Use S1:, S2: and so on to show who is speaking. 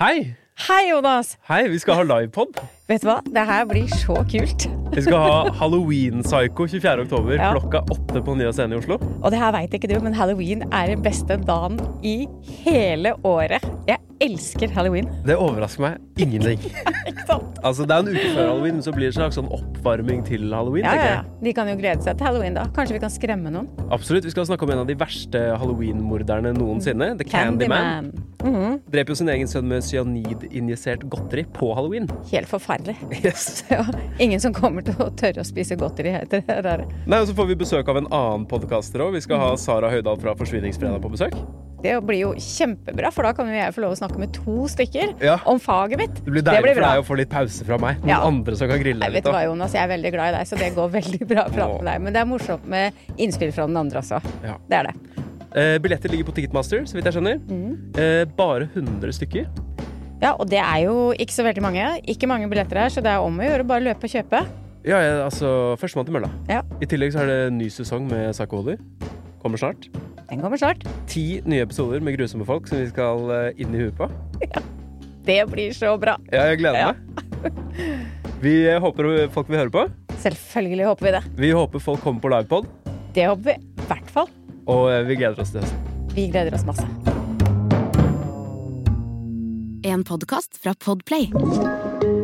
S1: Hei!
S2: Hei, Jonas!
S1: Hei, vi skal ha livepod.
S2: Vet du hva? Det her blir så kult.
S1: Vi skal ha Halloween-psycho 24. oktober
S2: Ja.
S1: klokka åtte på Nya Scene i Oslo.
S2: Og det her veit ikke du, men halloween er den beste dagen i hele året. Jeg elsker halloween.
S1: Det overrasker meg ingenting.
S2: Ikke sant?
S1: Altså, det er en uke før halloween, men så blir det en slags sånn oppvarming til halloween.
S2: Ja, ja,
S1: tenker
S2: ja. De kan jo glede seg til halloween, da. Kanskje vi kan skremme noen?
S1: jeg. Absolutt. Vi skal snakke om en av de verste halloween-morderne noensinne. The Candyman.
S2: Candyman. Mhm.
S1: Drep jo sin egen sønn med cyanidinjisert godteri på halloween.
S2: Helt forferdelig.
S1: Yes.
S2: Ja, ingen som kommer til å tørre å spise godteri etter det der.
S1: Nei, og Så får vi besøk av en annen podkaster òg. Vi skal ha Sara Høydahl fra Forsvinningsfredag på besøk.
S2: Det blir jo kjempebra, for da kan jo jeg få lov å snakke med to stykker
S1: Ja.
S2: om faget mitt.
S1: Det blir deilig for
S2: bra.
S1: deg å få litt pause fra meg. Noen
S2: Ja.
S1: andre som kan grille
S2: Nei,
S1: deg
S2: vet
S1: litt.
S2: du hva,
S1: da.
S2: Jonas, jeg er veldig glad i deg, så det går veldig bra å prate med deg. Men det er morsomt med innspill fra den andre også.
S1: Ja.
S2: Det er det.
S1: Eh, billetter ligger på Ticketmaster, så vidt jeg skjønner.
S2: Mm.
S1: Eh, bare 100 stykker.
S2: Ja, og det er jo ikke så veldig mange. Ikke mange billetter her, så det er om å gjøre å bare løpe og kjøpe.
S1: Ja, ja, altså Førstemann til mølla.
S2: Ja,
S1: I tillegg så er det en ny sesong med Psycho Holly. Kommer snart.
S2: den kommer snart.
S1: Ti nye episoder med grusomme folk som vi skal eh, inn i huet på.
S2: Det blir så bra.
S1: Ja, jeg gleder
S2: Ja.
S1: meg. Vi eh, håper folk vil høre på.
S2: Selvfølgelig håper vi det.
S1: Vi håper folk kommer på livepod,
S2: Det håper vi i hvert fall.
S1: og eh, vi gleder oss til høsten.
S2: Vi gleder oss masse.
S3: En podkast fra Podplay.